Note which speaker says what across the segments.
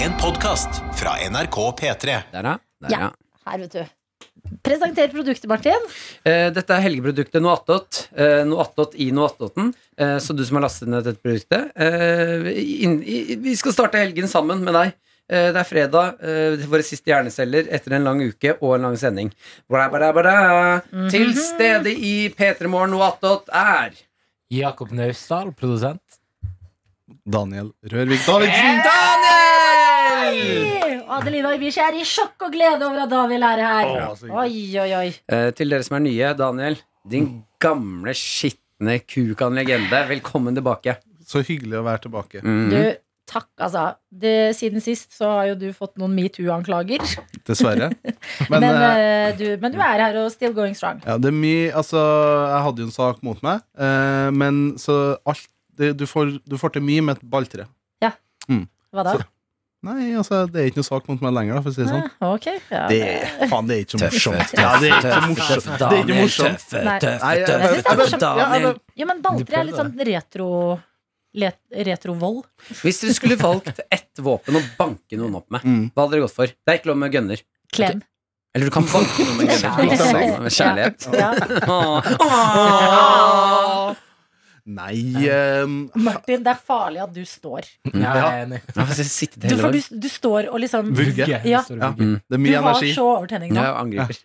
Speaker 1: En podkast fra NRK P3.
Speaker 2: Der, ja. Der,
Speaker 3: Ja. Her, vet du. Presenter produktet, Martin.
Speaker 2: Eh, dette er helgeproduktet Noattot. Eh, Noattot i Noattoten. Eh, så du som har lastet ned dette produktet, eh, inn, i, vi skal starte helgen sammen med deg. Eh, det er fredag, eh, våre siste hjerneceller etter en lang uke og en lang sending. Bra, bra, bra.
Speaker 3: Mhm.
Speaker 2: Til stede i P3 Morgen Noattot er
Speaker 4: Jakob Naustdal, produsent.
Speaker 5: Daniel Rørvik Davidsen.
Speaker 2: Daniel!
Speaker 3: Og Adelina Ibici er i sjokk og glede over at Daniel er her.
Speaker 5: altså,
Speaker 3: Oi, oi, oi.
Speaker 2: Eh, til dere som er nye, Daniel.
Speaker 5: Mm.
Speaker 2: Din gamle, skitne kuk av en legende. Velkommen tilbake.
Speaker 5: Så hyggelig å være tilbake.
Speaker 2: Mm.
Speaker 3: Du, takk, altså. Det, siden sist så har jo du fått noen metoo-anklager.
Speaker 5: Dessverre. Men,
Speaker 3: Men,
Speaker 5: eh,
Speaker 3: eh, du, men du er her og still going strong.
Speaker 5: ja, det er mye Altså, jeg hadde jo en sak mot meg, eh, men så alt det, du, får, du får til mye med et balltre.
Speaker 3: Hva da?
Speaker 5: Så- Nei, altså, det er ikke noe sak mot meg lenger, da, for å si det sånn.
Speaker 3: Ah, ok. Ja.
Speaker 5: Det, faen, det er ikke så morsomt. Ja, det er ikke så
Speaker 4: Tøffe,
Speaker 5: morsomt. Det er ikke morsomt.
Speaker 3: Nei.
Speaker 5: Nei,
Speaker 3: Jeg
Speaker 5: jeg-
Speaker 3: synes det er
Speaker 5: jeg- jeg-
Speaker 3: morsomt.
Speaker 5: ja, jeg-
Speaker 3: Jo, men balltre er litt sånn retro... let- Retrovold.
Speaker 2: Hvis dere skulle valgt ett våpen å banke noen opp med,
Speaker 5: Mm.
Speaker 2: hva hadde dere gått for? Det er ikke lov med gunner.
Speaker 3: Klem.
Speaker 2: Eller du kan banke noen med gunner.
Speaker 5: Kjærlighet.
Speaker 2: Med Kjærlighet.
Speaker 3: Ja.
Speaker 2: Åh.
Speaker 5: Nei eh,
Speaker 3: Martin, det er farlig at du står.
Speaker 4: Ja, jeg er enig.
Speaker 2: Mm. Ja, for jeg sitter
Speaker 3: Du,
Speaker 2: hele
Speaker 3: for du,
Speaker 2: året.
Speaker 3: du står og liksom Du
Speaker 5: Vugge.
Speaker 3: Ja.
Speaker 4: Står
Speaker 5: Ja.
Speaker 4: og vugger.
Speaker 5: Det er mye
Speaker 3: har
Speaker 5: energi.
Speaker 3: så overtenning nå.
Speaker 2: Ja, jeg angriper.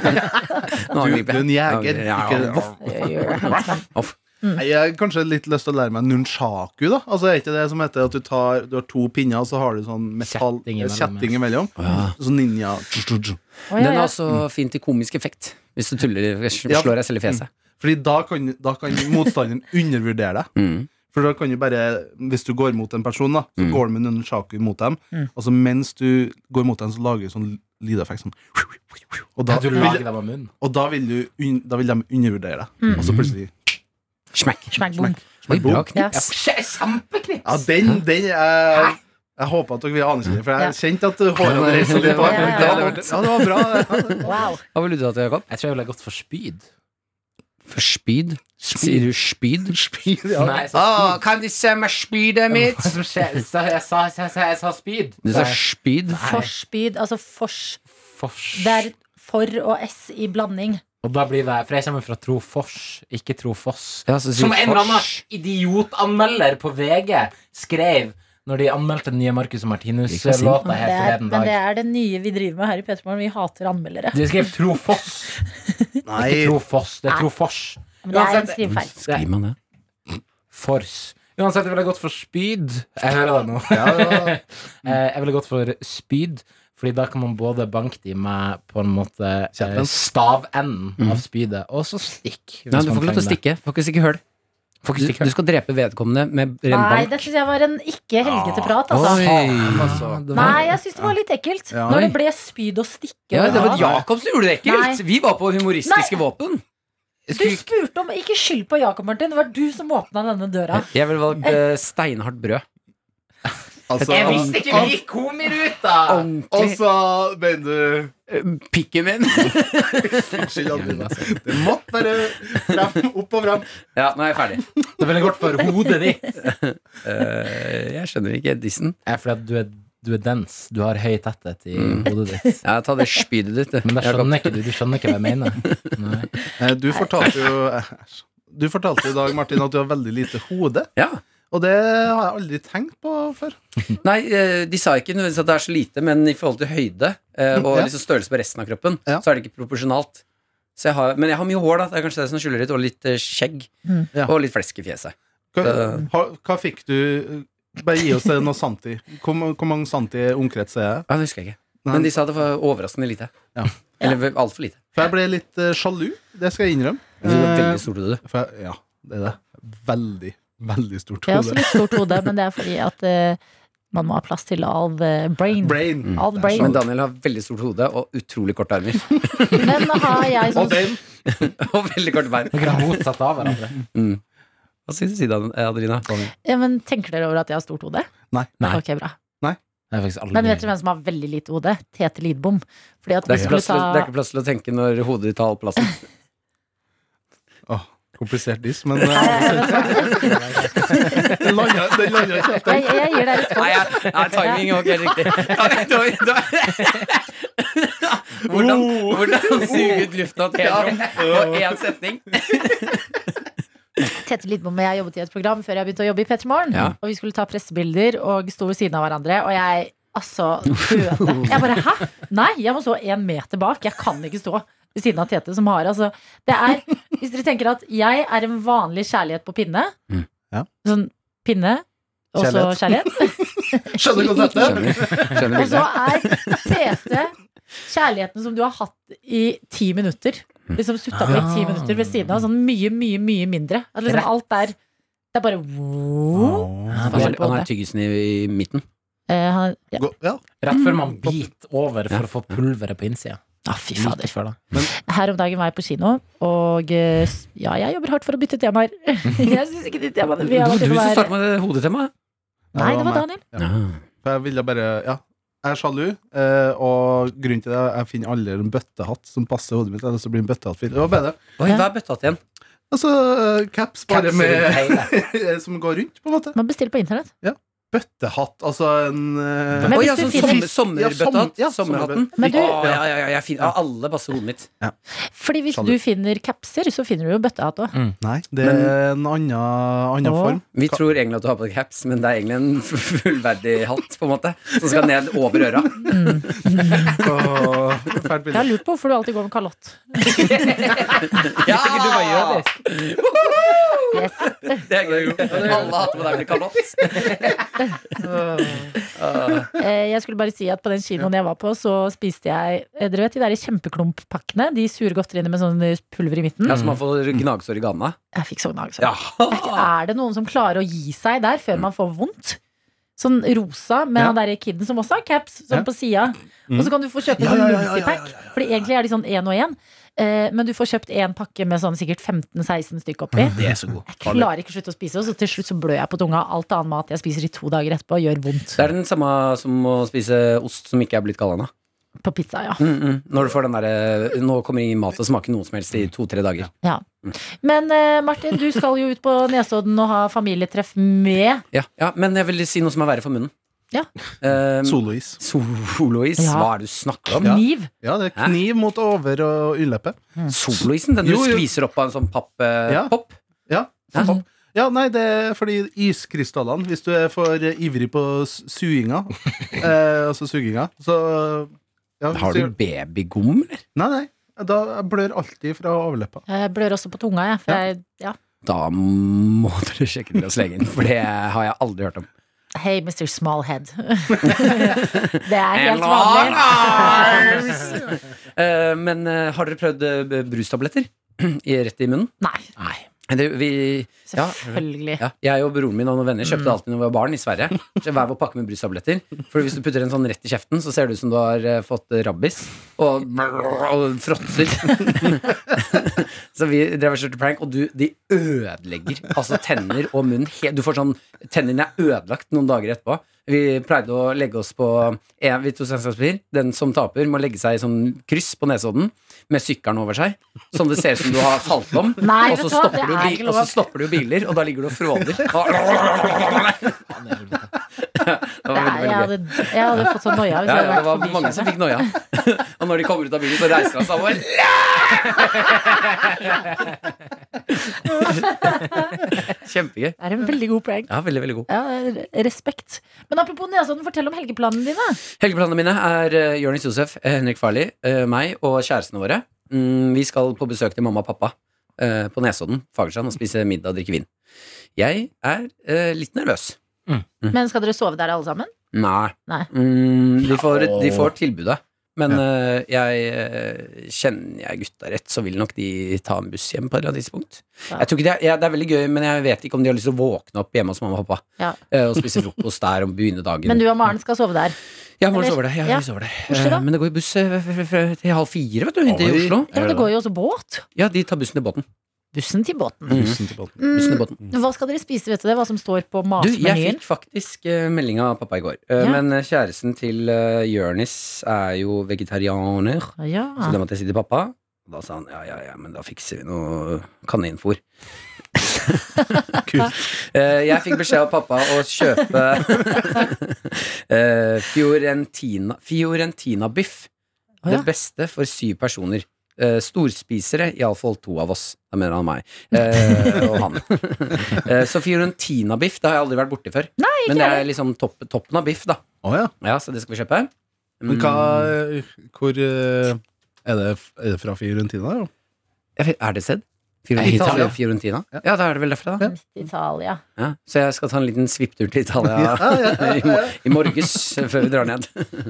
Speaker 2: Nå
Speaker 5: Du,
Speaker 2: angriper
Speaker 5: du er en jeger.
Speaker 2: Ja, ja, ja.
Speaker 5: Ikke,
Speaker 2: Voff.
Speaker 5: Nei, Jeg har kanskje litt lyst til å lære meg nunchaku, da. Altså, er ikke det som heter at du tar Du har to pinner, og så har du sånn metall
Speaker 4: Kjetting imellom,
Speaker 5: kjetting
Speaker 4: ja.
Speaker 5: imellom.
Speaker 2: Ja.
Speaker 5: Sånn ninja
Speaker 3: Å,
Speaker 2: Den
Speaker 3: ja,
Speaker 2: er
Speaker 3: ja.
Speaker 2: også fin til komisk effekt. Hvis du tuller
Speaker 5: Ja.
Speaker 2: slår deg selv i fjeset.
Speaker 5: Fordi da kan, da kan motstanderen undervurdere deg.
Speaker 2: Mm.
Speaker 5: For da kan du bare, Hvis du går mot en person, da så
Speaker 2: Mm.
Speaker 5: går du med nunchaku mot dem.
Speaker 3: Mm.
Speaker 5: Og så mens du går mot dem, så lager du sånn lydeffekt. Sånn, og, da
Speaker 4: Du
Speaker 5: vil,
Speaker 4: lager deg med munnen.
Speaker 5: og da vil, du, un- da vil de undervurdere deg.
Speaker 3: Mm.
Speaker 5: Og så plutselig
Speaker 2: Smekk.
Speaker 3: Smack, boom.
Speaker 2: Oi, bra
Speaker 3: Yes.
Speaker 2: knips.
Speaker 5: Ja, den, den er, Jeg håper at dere vil ane ikke det, for jeg kjente at hårene reiste
Speaker 2: Ja,
Speaker 5: litt. bak.
Speaker 3: ja,
Speaker 5: Ja,
Speaker 2: ja.
Speaker 5: det var bra. det.
Speaker 3: Wow.
Speaker 2: Hva ville du hatt, Jakob?
Speaker 4: Jeg tror jeg ville gått for spyd.
Speaker 2: For spyd? Sier du spyd? Spyd,
Speaker 5: ja.
Speaker 4: Nei, jeg sa
Speaker 2: Åh, kan du se meg spydet mitt?
Speaker 4: Hva som skjer? Jeg sa, jeg sa, jeg sa, jeg sa spyd.
Speaker 2: Du sa spyd?
Speaker 3: Forspyd, altså fors
Speaker 4: Fors.
Speaker 3: Det er for og s i blanding.
Speaker 4: Og da blir det, for jeg kommer fra Trofors, ikke Trofoss.
Speaker 2: Ja, så sier
Speaker 4: Som en eller annen
Speaker 2: fors.
Speaker 4: idiotanmelder på VG skrev når de anmeldte den nye Marcus og
Speaker 2: Ikke si det.
Speaker 4: Martinus-låta
Speaker 3: Det
Speaker 4: her
Speaker 3: er, men
Speaker 4: forleden
Speaker 3: det
Speaker 4: dag.
Speaker 3: er det nye vi driver med her i Petermorgen. Vi hater anmeldere.
Speaker 4: De skrev Trofoss,
Speaker 5: Nei,
Speaker 4: ikke Trofors. Det
Speaker 3: Nei.
Speaker 4: er Trofors.
Speaker 3: Men det er en
Speaker 4: Uansett-
Speaker 3: skrivefeil.
Speaker 4: Det
Speaker 2: Skriver man altså, det?
Speaker 4: Fors. Uansett, jeg ville gått for spyd. Jeg hører deg nå. Eh, jeg ville gått for spyd, Fordi da kan man både banke de med på en måte eh,
Speaker 5: Kjeppen.
Speaker 4: stavenden av spydet, og så stikk. hvis
Speaker 2: Nei, Mhm. du
Speaker 4: man
Speaker 2: får ikke lov til å
Speaker 4: trenger det.
Speaker 2: stikke. Får ikke stikke høl.
Speaker 4: Får
Speaker 2: Du,
Speaker 4: ikke stikke.
Speaker 2: du skal drepe vedkommende med ren
Speaker 3: Nei,
Speaker 2: bank.
Speaker 3: det syns jeg var en ikke helgete prat, altså.
Speaker 2: Ah. Oi.
Speaker 5: altså.
Speaker 2: Det var-
Speaker 3: Nei, jeg syns det var litt ekkelt.
Speaker 5: Ja.
Speaker 3: Når det ble spyd og stikke
Speaker 2: Ja, det var
Speaker 3: da-
Speaker 2: Jakob som gjorde det ekkelt!
Speaker 3: Nei.
Speaker 2: Vi var på humoristiske våpen.
Speaker 3: Du spurte om Ikke skyld på Jakob, Martin. Det var du som åpna denne døra.
Speaker 2: Jeg ville valgt eh, steinhardt brød.
Speaker 5: altså,
Speaker 2: Jeg
Speaker 5: altså,
Speaker 2: visste
Speaker 4: ikke vi gikk komiruta!
Speaker 2: Ordentlig
Speaker 5: mener du
Speaker 2: Eh, pikken min!
Speaker 5: Unnskyld, Adelina. Det måtte bare frem, opp og frem.
Speaker 2: Ja, nå er jeg ferdig.
Speaker 4: Det ville jeg gått for hodet ditt.
Speaker 2: Eh, jeg skjønner ikke dissen.
Speaker 4: Er fordi at du er, du er dens. Du har høy tetthet i
Speaker 2: Mm.
Speaker 4: hodet ditt.
Speaker 2: Ja, ta det spydet ditt, du.
Speaker 4: Men sånn, da
Speaker 2: Jakob.
Speaker 4: skjønner ikke du, du skjønner ikke hva jeg mener. Nei.
Speaker 5: Eh, Du fortalte jo æsj. Du fortalte i dag, Martin, at du har veldig lite hode.
Speaker 2: Ja.
Speaker 5: Og det har jeg aldri tenkt på før.
Speaker 2: Nei, eh, de sa ikke nødvendigvis at det er så lite, men i forhold til høyde eh, og
Speaker 5: Ja.
Speaker 2: liksom størrelse på resten av kroppen,
Speaker 5: Ja.
Speaker 2: så er det ikke proporsjonalt. Så jeg har, men jeg har mye hår, da. Det er kanskje det som skylder litt, og litt eh, skjegg.
Speaker 3: Mm.
Speaker 5: Ja.
Speaker 2: Og litt flesk i fjeset.
Speaker 5: Hva,
Speaker 2: Det-
Speaker 5: ha- hva fikk du Bare gi oss noe sant i. Hvor, ma- hvor mange sant i omkrets er jeg?
Speaker 2: Ja, det husker jeg ikke.
Speaker 5: Nei.
Speaker 2: Men de sa det var overraskende lite.
Speaker 5: Ja.
Speaker 2: Eller altfor lite.
Speaker 5: For jeg ble litt eh, sjalu. Det skal jeg innrømme.
Speaker 2: Du var
Speaker 5: Eh,
Speaker 2: Veldig stort hode, du.
Speaker 5: for jeg, ja, det er det. Veldig, veldig stort
Speaker 3: Jeg har også
Speaker 5: hode.
Speaker 3: litt stort hode, men det er fordi at eh, man må ha plass til all the brain.
Speaker 5: Brain.
Speaker 2: Mm.
Speaker 3: All
Speaker 5: Det er sånn.
Speaker 3: brain.
Speaker 5: sant.
Speaker 2: Men Daniel har veldig stort hode og utrolig korte armer.
Speaker 3: Men har jeg sånn
Speaker 5: Og den
Speaker 2: og veldig korte bein.
Speaker 4: Dere er motsatt av hverandre.
Speaker 2: Hva syns du, Dan- eh, Adelina?
Speaker 3: ja, men Tenker dere over at jeg har stort hode?
Speaker 5: Nei.
Speaker 4: Nei.
Speaker 3: Ok, bra
Speaker 4: Det er faktisk aldri
Speaker 3: Men vet dere hvem som har veldig lite hode? Tete Lidbom. Fordi at
Speaker 2: Det er, ikke
Speaker 3: vi skulle
Speaker 2: plass til, det er
Speaker 3: ta
Speaker 2: ikke plass til å tenke når hodet ditt tar all plassen.
Speaker 5: Åh, Komplisert diss, men eh, den landa den landa ikke helt.
Speaker 3: Jeg, jeg gir deg respons.
Speaker 2: Nei, jeg- nei, timing var ikke helt riktig. Ja, det var- det var- Hvordan,
Speaker 3: Oh.
Speaker 2: hvordan suge ut luften av et helt rom på én setning?
Speaker 3: Tete Lidbom og jeg jobbet i et program før jeg begynte å jobbe i P3 Morgen.
Speaker 2: Ja.
Speaker 3: Og vi skulle ta pressebilder og sto ved siden av hverandre. Og jeg altså døde. Jeg bare hæ? Nei, jeg må stå én meter bak. Jeg kan ikke stå ved siden av Tete, som har altså Det er Hvis dere tenker at jeg er en vanlig kjærlighet på pinne
Speaker 2: Mm.
Speaker 5: Ja.
Speaker 3: Sånn pinne, og så kjærlighet.
Speaker 5: Skjønner konseptet?
Speaker 2: Skjønner, skjønner
Speaker 3: Og så
Speaker 2: bildet.
Speaker 3: er Tete kjærligheten som du har hatt i ti minutter. Liksom sutta på i ti
Speaker 4: Ah.
Speaker 3: minutter ved siden av. Sånn mye, mye, mye mindre. At liksom alt er Det er bare wow.
Speaker 2: Han har- han har tyggisen i, i midten.
Speaker 3: Eh, han, ja.
Speaker 5: Gå- Ja.
Speaker 4: Rett før man biter over
Speaker 2: Ja.
Speaker 4: for å få pulveret på innsida.
Speaker 3: Ah, fy fader.
Speaker 4: Før, da.
Speaker 3: Her om dagen var jeg på kino, og eh, s- ja, jeg jobber hardt for å bytte temaer. jeg syns ikke de temaene vi
Speaker 2: Det
Speaker 3: har
Speaker 2: var
Speaker 3: vært
Speaker 2: du
Speaker 3: innom
Speaker 2: som
Speaker 3: er-
Speaker 2: startet med det hodetemaet.
Speaker 3: Nei, det var
Speaker 5: meg.
Speaker 3: Daniel.
Speaker 5: Ja. For jeg ville bare Ja. Jeg er sjalu, eh, og grunnen til det er at jeg finner aldri en bøttehatt som passer hodet mitt. Eller så blir en bøttehatt fin. Det var bedre.
Speaker 2: Oi, hva er bøtta til igjen?
Speaker 5: Altså eh, caps bare
Speaker 4: Caps rundt hele.
Speaker 5: med eh, Som går rundt, på en måte.
Speaker 3: Man bestiller på internett.
Speaker 5: Bøttehatt, altså en eh,
Speaker 3: Men
Speaker 2: Oi,
Speaker 3: hvis
Speaker 2: ja,
Speaker 3: du
Speaker 2: sånn
Speaker 3: finner-
Speaker 2: sommer, sommerbøttehatt.
Speaker 5: Ja, som- ja,
Speaker 2: Sommerhatten.
Speaker 3: Men du-
Speaker 2: Å, ja, ja, ja, jeg finner, ja, alle passer hodet mitt.
Speaker 3: Fordi hvis
Speaker 5: Sjalu.
Speaker 3: du finner capser, så finner du jo bøttehatt òg.
Speaker 5: Nei, det er en annen, annen
Speaker 3: Å.
Speaker 5: form.
Speaker 2: Vi tror egentlig at du har på deg caps, men det er egentlig en fullverdig hatt, på en måte, som skal ned over øra.
Speaker 5: Åh, Fælt
Speaker 3: Jeg har
Speaker 5: bilde.
Speaker 3: lurt på hvorfor du alltid går med kalott.
Speaker 2: Ja!
Speaker 3: Yes.
Speaker 2: Det er gøy. Alle hatter på deg blir kalott.
Speaker 3: Eh, Jeg skulle bare si at på den kinoen jeg var på, så spiste jeg eh, Dere vet de der kjempeklumppakkene? De sure godteriene med sånn eh, pulver i midten?
Speaker 2: Ja, så man får gnagsår i ganna.
Speaker 3: Jeg fikk sånn angst.
Speaker 2: Ja.
Speaker 3: Er det noen som klarer å gi seg der før man får vondt? Sånn rosa med
Speaker 5: Ja.
Speaker 3: han derre kiden som også har caps, sånn
Speaker 5: Ja. Mm.
Speaker 3: på sida. Og så kan du få kjøpe
Speaker 5: Ja,
Speaker 3: sånn
Speaker 5: ja, ja, ja, ja, ja,
Speaker 3: multipack, Fordi egentlig er de sånn én og én. Eh, Men du får kjøpt én pakke med sånn sikkert 15-16 stykk oppi.
Speaker 5: Mm, Det er så god.
Speaker 3: Jeg klarer ikke å slutte å spise, og så til slutt så blør jeg på tunga. av Alt annet mat jeg spiser i to dager etterpå, gjør vondt.
Speaker 2: Det er den samme som å spise ost som ikke er blitt kald ennå.
Speaker 3: På pizza, ja.
Speaker 2: Mm, mm. Når du får den derre Nå kommer ingen mat til å smake noe som helst i to-tre dager.
Speaker 3: Ja.
Speaker 2: Mm.
Speaker 3: Men eh, Martin, du skal jo ut på Nesodden og ha familietreff med
Speaker 2: Ja, ja, men jeg vil si noe som er verre for munnen.
Speaker 3: Ja.
Speaker 2: Eh,
Speaker 5: Solois.
Speaker 2: Solois?
Speaker 3: Ja.
Speaker 2: Hva er det du snakker om?
Speaker 3: kniv.
Speaker 5: Ja, det er
Speaker 2: Hæ?
Speaker 5: kniv mot over- og uleppe.
Speaker 3: Mm.
Speaker 2: Soloisen? Den du
Speaker 5: Jo, jo.
Speaker 2: skviser opp av en sånn papp eh,
Speaker 5: Ja.
Speaker 2: Pop?
Speaker 5: Ja,
Speaker 2: Hæ?
Speaker 5: topp. Ja, nei, det er fordi iskrystallene Hvis du er for eh, ivrig på s- suinga, eh, altså suginga, så ja,
Speaker 2: Har du
Speaker 5: så-
Speaker 2: babygom, eller?
Speaker 5: Nei, nei. Da jeg blør alltid fra overleppa.
Speaker 3: Jeg blør også på tunga, jeg. For jeg ja.
Speaker 2: Da må dere sjekke dere hos legen, for det har jeg aldri hørt om.
Speaker 3: Hey, Mr. Smallhead. det er helt vanlig.
Speaker 2: Eh, men eh, har dere prøvd eh, b- brustabletter I- rett i munnen?
Speaker 3: Nei,
Speaker 2: Nei. Det, vi, ja,
Speaker 3: selvfølgelig.
Speaker 2: ja, jeg og broren min og noen venner kjøpte alltid når vi var barn i Sverige. Så Hver vår pakke med brustabletter. For hvis du putter en sånn rett i kjeften, så ser det ut som du har eh, fått eh, rabbis og, og fråtser. så vi drev og kjørte prank, og du, de ødelegger altså tenner og munn. he- Du får sånn Tennene er ødelagt noen dager etterpå. Vi pleide å legge oss på en, vi to selskapspapir. Den som taper, må legge seg i sånn kryss på Nesodden med sykkelen over seg, sånn det ser ut som du har falt om.
Speaker 3: Nei,
Speaker 2: og, så stopper
Speaker 3: vet du hva, det
Speaker 2: du,
Speaker 3: er
Speaker 2: bi-
Speaker 3: ikke
Speaker 2: og
Speaker 3: lov.
Speaker 2: så stopper du biler, og da ligger du og fråder. Det var
Speaker 3: Det er,
Speaker 2: veldig, veldig
Speaker 3: jeg,
Speaker 2: gøy.
Speaker 3: hadde, jeg hadde fått sånn noia hvis
Speaker 2: Ja,
Speaker 3: jeg
Speaker 2: ja,
Speaker 3: hadde
Speaker 2: det var
Speaker 3: vært
Speaker 2: mange som
Speaker 3: forbikjørende.
Speaker 2: fikk noia. Og når de kommer ut av bilen, så reiser han seg og bare «Læ!» Kjempegøy.
Speaker 3: Det er en veldig god prank.
Speaker 2: Ja, veldig, veldig god.
Speaker 3: Ja, respekt. Men apropos Nesodden, fortell om helgeplanene dine.
Speaker 2: Helgeplanene mine er uh, Jonis Josef, eh, Henrik Farli, eh, meg og kjærestene våre. Mm, vi skal på besøk til mamma og pappa eh, på Nesodden, Fagersand, og spise middag og drikke vin. Jeg er eh, litt nervøs.
Speaker 3: Men skal dere sove der alle sammen?
Speaker 2: Nei.
Speaker 3: Nei.
Speaker 2: Mm, de, får, de
Speaker 4: Åh.
Speaker 2: får tilbudet. Men eh, jeg eh, kjenner jeg gutta rett, så vil nok de ta en buss hjem på et eller annet tidspunkt.
Speaker 3: Ja.
Speaker 2: Jeg tror ikke det, er, ja, det er veldig gøy, men jeg vet ikke om de har lyst til å våkne opp hjemme hos mamma og pappa
Speaker 3: Ja.
Speaker 2: eh, og spise frokost der og begynne dagen.
Speaker 3: Men du og Maren skal sove der.
Speaker 2: Ja, må du
Speaker 3: Eller-
Speaker 2: sove det. Ja,
Speaker 3: ja.
Speaker 2: vi sover det.
Speaker 3: Koselig,
Speaker 2: Eh,
Speaker 3: da.
Speaker 2: Men det går jo buss eh, f- f- f- til halv fire, vet du, inn til
Speaker 5: Oi.
Speaker 2: Oslo.
Speaker 3: Ja, men det går jo også båt.
Speaker 2: Ja, de tar bussen til båten. Mhm.
Speaker 3: Bussen til båten.
Speaker 5: Bussen til båten.
Speaker 2: Mm. Bussen til båten.
Speaker 3: Hva skal dere spise, vet du det? Hva som står på
Speaker 2: Du, jeg
Speaker 3: matmenyen?
Speaker 2: fikk faktisk eh, melding av pappa i går. Eh,
Speaker 3: Ja.
Speaker 2: Men eh, kjæresten til uh, Jørnis er jo vegetarianer,
Speaker 3: Ah, Ja.
Speaker 2: så det måtte jeg si til pappa. Og da sa han ja, ja, ja, men da fikser vi noe kaninfôr.
Speaker 5: Kult.
Speaker 2: Eh, jeg fikk beskjed av pappa å kjøpe eh, Fiorentina Fiorentina-biff.
Speaker 3: Å, ja.
Speaker 2: Det beste for syv personer. Eh, storspisere, iallfall to av oss. Da mener han meg. Eh, og han. eh, så Fiorentina-biff det har jeg aldri vært borti før. Men det er liksom topp, toppen av biff, da.
Speaker 5: Å ja.
Speaker 2: Ja, Så det skal vi kjøpe. Mm.
Speaker 5: Men hva Hvor eh, er det, er det fra Fiorentina? Jo?
Speaker 2: Jeg vet- Er det sedd?
Speaker 4: Nei,
Speaker 2: Fiorentina?
Speaker 4: Italia.
Speaker 2: Italia. Fiorentina? Ja, da er det vel derfra, da.
Speaker 3: Italia.
Speaker 2: Ja. Så jeg skal ta en liten svipptur til Italia i mor- i morges eh, før vi drar ned.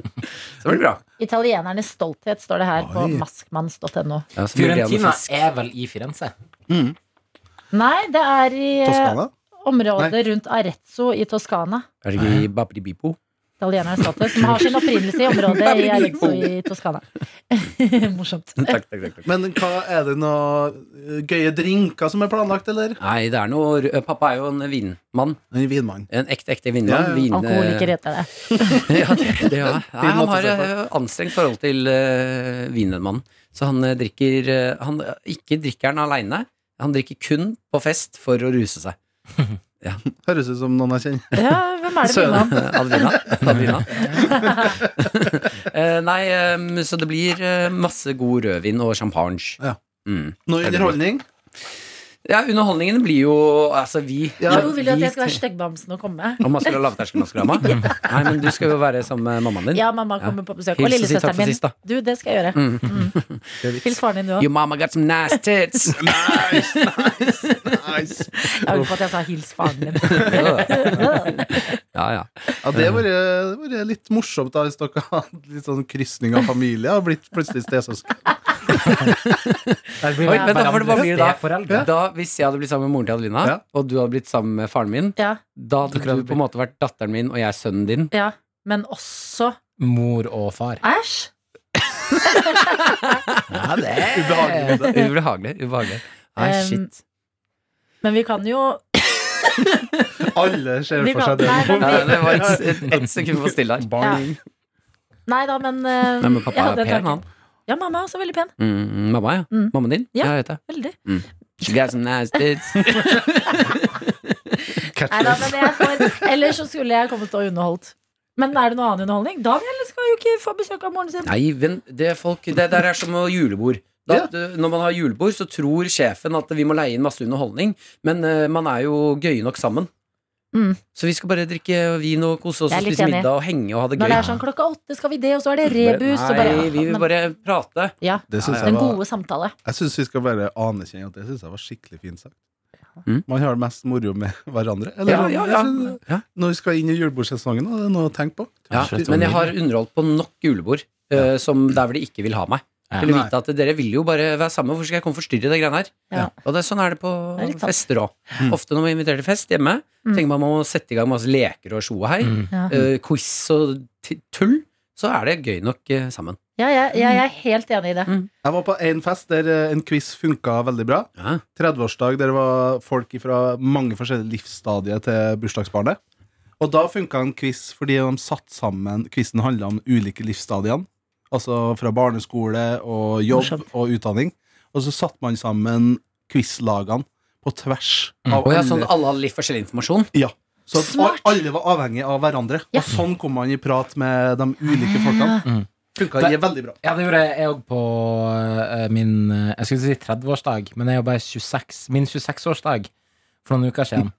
Speaker 2: Så blir det bra.
Speaker 3: Italienernes stolthet står det her på
Speaker 5: Oi.
Speaker 3: maskmanns.no.
Speaker 2: Ja, så blir det noe
Speaker 4: Fiorentina
Speaker 2: fisk.
Speaker 4: er vel i Firenze?
Speaker 3: Nei, det er i eh,
Speaker 5: Toskana?
Speaker 3: området rundt Arezzo i Toskana.
Speaker 2: Er det ikke i Babribipo?
Speaker 3: Italienernes stolthet, som har sin opprinnelse i området i Arezzo i Toskana. Morsomt.
Speaker 2: Takk, takk, takk. takk.
Speaker 5: Men hva, er det noen eh, gøye drinker som er planlagt, eller?
Speaker 2: Nei, det er noe rø- Pappa er jo en vinmann.
Speaker 5: En vinmann.
Speaker 2: En ekte, ekte vinmann.
Speaker 5: Ja, ja.
Speaker 2: Vin, eh,
Speaker 3: Alkoholiker heter det.
Speaker 2: ja, det, det, ja. Nei, han
Speaker 5: måte å
Speaker 2: har
Speaker 5: se på.
Speaker 2: eh, anstrengt forhold til eh, vinmannen. Så han eh, drikker eh, han, Ikke drikker han aleine, han drikker kun på fest for å ruse seg.
Speaker 5: Høres ut som noen jeg kjenner.
Speaker 3: Ja, hvem er det
Speaker 2: Søren.
Speaker 3: Vinland?
Speaker 2: Adelina. Adelina. Eh, Nei, eh, så det blir eh, masse god rødvin og champagne.
Speaker 5: Ja.
Speaker 2: Mm.
Speaker 5: Noe underholdning?
Speaker 2: Ja, underholdningen blir jo Altså, vi
Speaker 5: Ja.
Speaker 3: Jo, vil du at jeg skal være styggbamsen og komme?
Speaker 2: Om man skal ha lavterskelmaskorama? Nei, men du skal jo være sammen med mammaen din.
Speaker 3: Ja, mamma kommer på besøk. Og
Speaker 2: Hils og si takk
Speaker 3: lillesøsteren
Speaker 2: for
Speaker 3: min.
Speaker 2: sist, da.
Speaker 3: Du, det skal jeg gjøre. Mm. Hils faren din, du òg.
Speaker 2: Your mama got some nice tits.
Speaker 5: Nice, nice, nice.
Speaker 3: Jeg angrer på at jeg sa hils faren din.
Speaker 2: ja, ja.
Speaker 5: Ja, det har vært det har vært litt morsomt da, hvis dere har hatt litt sånn krysning av familie og blitt plutselig sånn stesøsken.
Speaker 2: Oi, men da, for det, hva blir det da?
Speaker 4: Foreldre.
Speaker 2: Da, hvis jeg hadde blitt sammen med moren til Adelina,
Speaker 5: Ja.
Speaker 2: og du hadde blitt sammen med faren min,
Speaker 3: Ja,
Speaker 2: da hadde
Speaker 4: Dere hadde
Speaker 2: du på en måte vært datteren min, og jeg er sønnen din.
Speaker 3: ja. Men også
Speaker 4: Mor og far.
Speaker 3: Æsj!
Speaker 4: Ja, det er
Speaker 5: Ubehagelig. med det.
Speaker 2: Ubehagelig. ubehagelig. Nei,
Speaker 3: Um,
Speaker 2: shit.
Speaker 3: Men vi kan jo
Speaker 5: Alle ser
Speaker 3: Vi
Speaker 5: for seg det.
Speaker 3: kan- nei,
Speaker 5: nå.
Speaker 2: Nei, det var ett et, et sekund for stille her.
Speaker 5: Bang.
Speaker 3: Nei da, men, eh,
Speaker 2: Nei, men
Speaker 3: jeg
Speaker 2: pappa
Speaker 3: hadde
Speaker 2: er
Speaker 3: en
Speaker 2: pen,
Speaker 3: tanke.
Speaker 2: han.
Speaker 3: Ja, mamma er også veldig pen.
Speaker 2: Mm, mamma, ja.
Speaker 3: Mm.
Speaker 2: Mammaen din?
Speaker 3: Ja.
Speaker 2: jeg vet det.
Speaker 3: Veldig.
Speaker 2: She got some nice tits.
Speaker 3: Nei da, men jeg får Ellers så skulle jeg kommet og underholdt. Men er det noe annen underholdning? Daniel skal jo ikke få besøk av moren sin.
Speaker 2: Nei, men det, er folk, det der er som å julebord. Da,
Speaker 5: Ja.
Speaker 2: du- Når man har julebord, så tror sjefen at vi må leie inn masse underholdning, men eh, man er jo gøye nok sammen.
Speaker 3: Mm.
Speaker 2: Så vi skal bare drikke vin og kose oss
Speaker 3: Jeg er
Speaker 2: og
Speaker 3: litt
Speaker 2: spise
Speaker 3: enig.
Speaker 2: middag og henge og ha det gøy.
Speaker 3: Når det er sånn klokka åtte skal vi det, og så er det rebus. og
Speaker 2: Bare,
Speaker 3: bare,
Speaker 2: nei, vi vil
Speaker 3: men-
Speaker 2: bare prate.
Speaker 3: ja,
Speaker 5: Det synes jeg
Speaker 3: Den
Speaker 5: var
Speaker 3: gode samtale.
Speaker 5: Jeg syns vi skal bare anerkjenne at det synes jeg var skikkelig fint sagt.
Speaker 2: Mm.
Speaker 5: Man har det mest moro med hverandre. Eller,
Speaker 2: Ja,
Speaker 5: sånn,
Speaker 2: ja, ja.
Speaker 5: jeg synes-
Speaker 2: ja.
Speaker 5: Når vi skal inn i julebordsesongen, og det er noe å tenke på.
Speaker 2: ja. Men jeg har underholdt på nok julebord eh, som der hvor de ikke vil ha meg.
Speaker 4: Ja.
Speaker 2: Til å
Speaker 5: Nei.
Speaker 2: vite at dere vil jo bare være sammen. Hvorfor skal jeg komme og forstyrre det greiene her?
Speaker 3: Ja.
Speaker 2: Og det er sånn er det på
Speaker 3: Det er litt sant. Mm.
Speaker 2: fester òg. Ofte når man inviterer til fest hjemme, tenker man man må sette i gang masse leker og tjo og hei.
Speaker 3: Ja.
Speaker 2: eh, quiz og t tull, så er det gøy nok eh, sammen.
Speaker 3: Ja, jeg, jeg, jeg er helt enig i det.
Speaker 2: Mm.
Speaker 5: Jeg var på en fest der eh, en quiz funka veldig bra.
Speaker 2: Ja.
Speaker 5: 30-årsdag der det var folk fra mange forskjellige livsstadier til bursdagsbarnet. Og da funka en quiz fordi de satt sammen Quizen handla om ulike livsstadiene. Altså fra barneskole og jobb
Speaker 3: Morsomt.
Speaker 5: og utdanning. Og så satte man sammen quizlagene på tvers av
Speaker 2: Og ja,
Speaker 5: alle-
Speaker 2: sånn at alle hadde litt forskjellig informasjon.
Speaker 5: Ja. Så at
Speaker 3: Smart.
Speaker 5: al- alle var avhengige av hverandre.
Speaker 3: Ja.
Speaker 5: Og sånn kom man i prat med de ulike folkene.
Speaker 4: Mm.
Speaker 5: Funka
Speaker 4: Det-
Speaker 5: det... veldig bra.
Speaker 4: Ja, det gjorde jeg òg på eh, min eh, Jeg skulle si 30-årsdag, men jeg er jo bare 26. Min 26-årsdag for noen uker siden.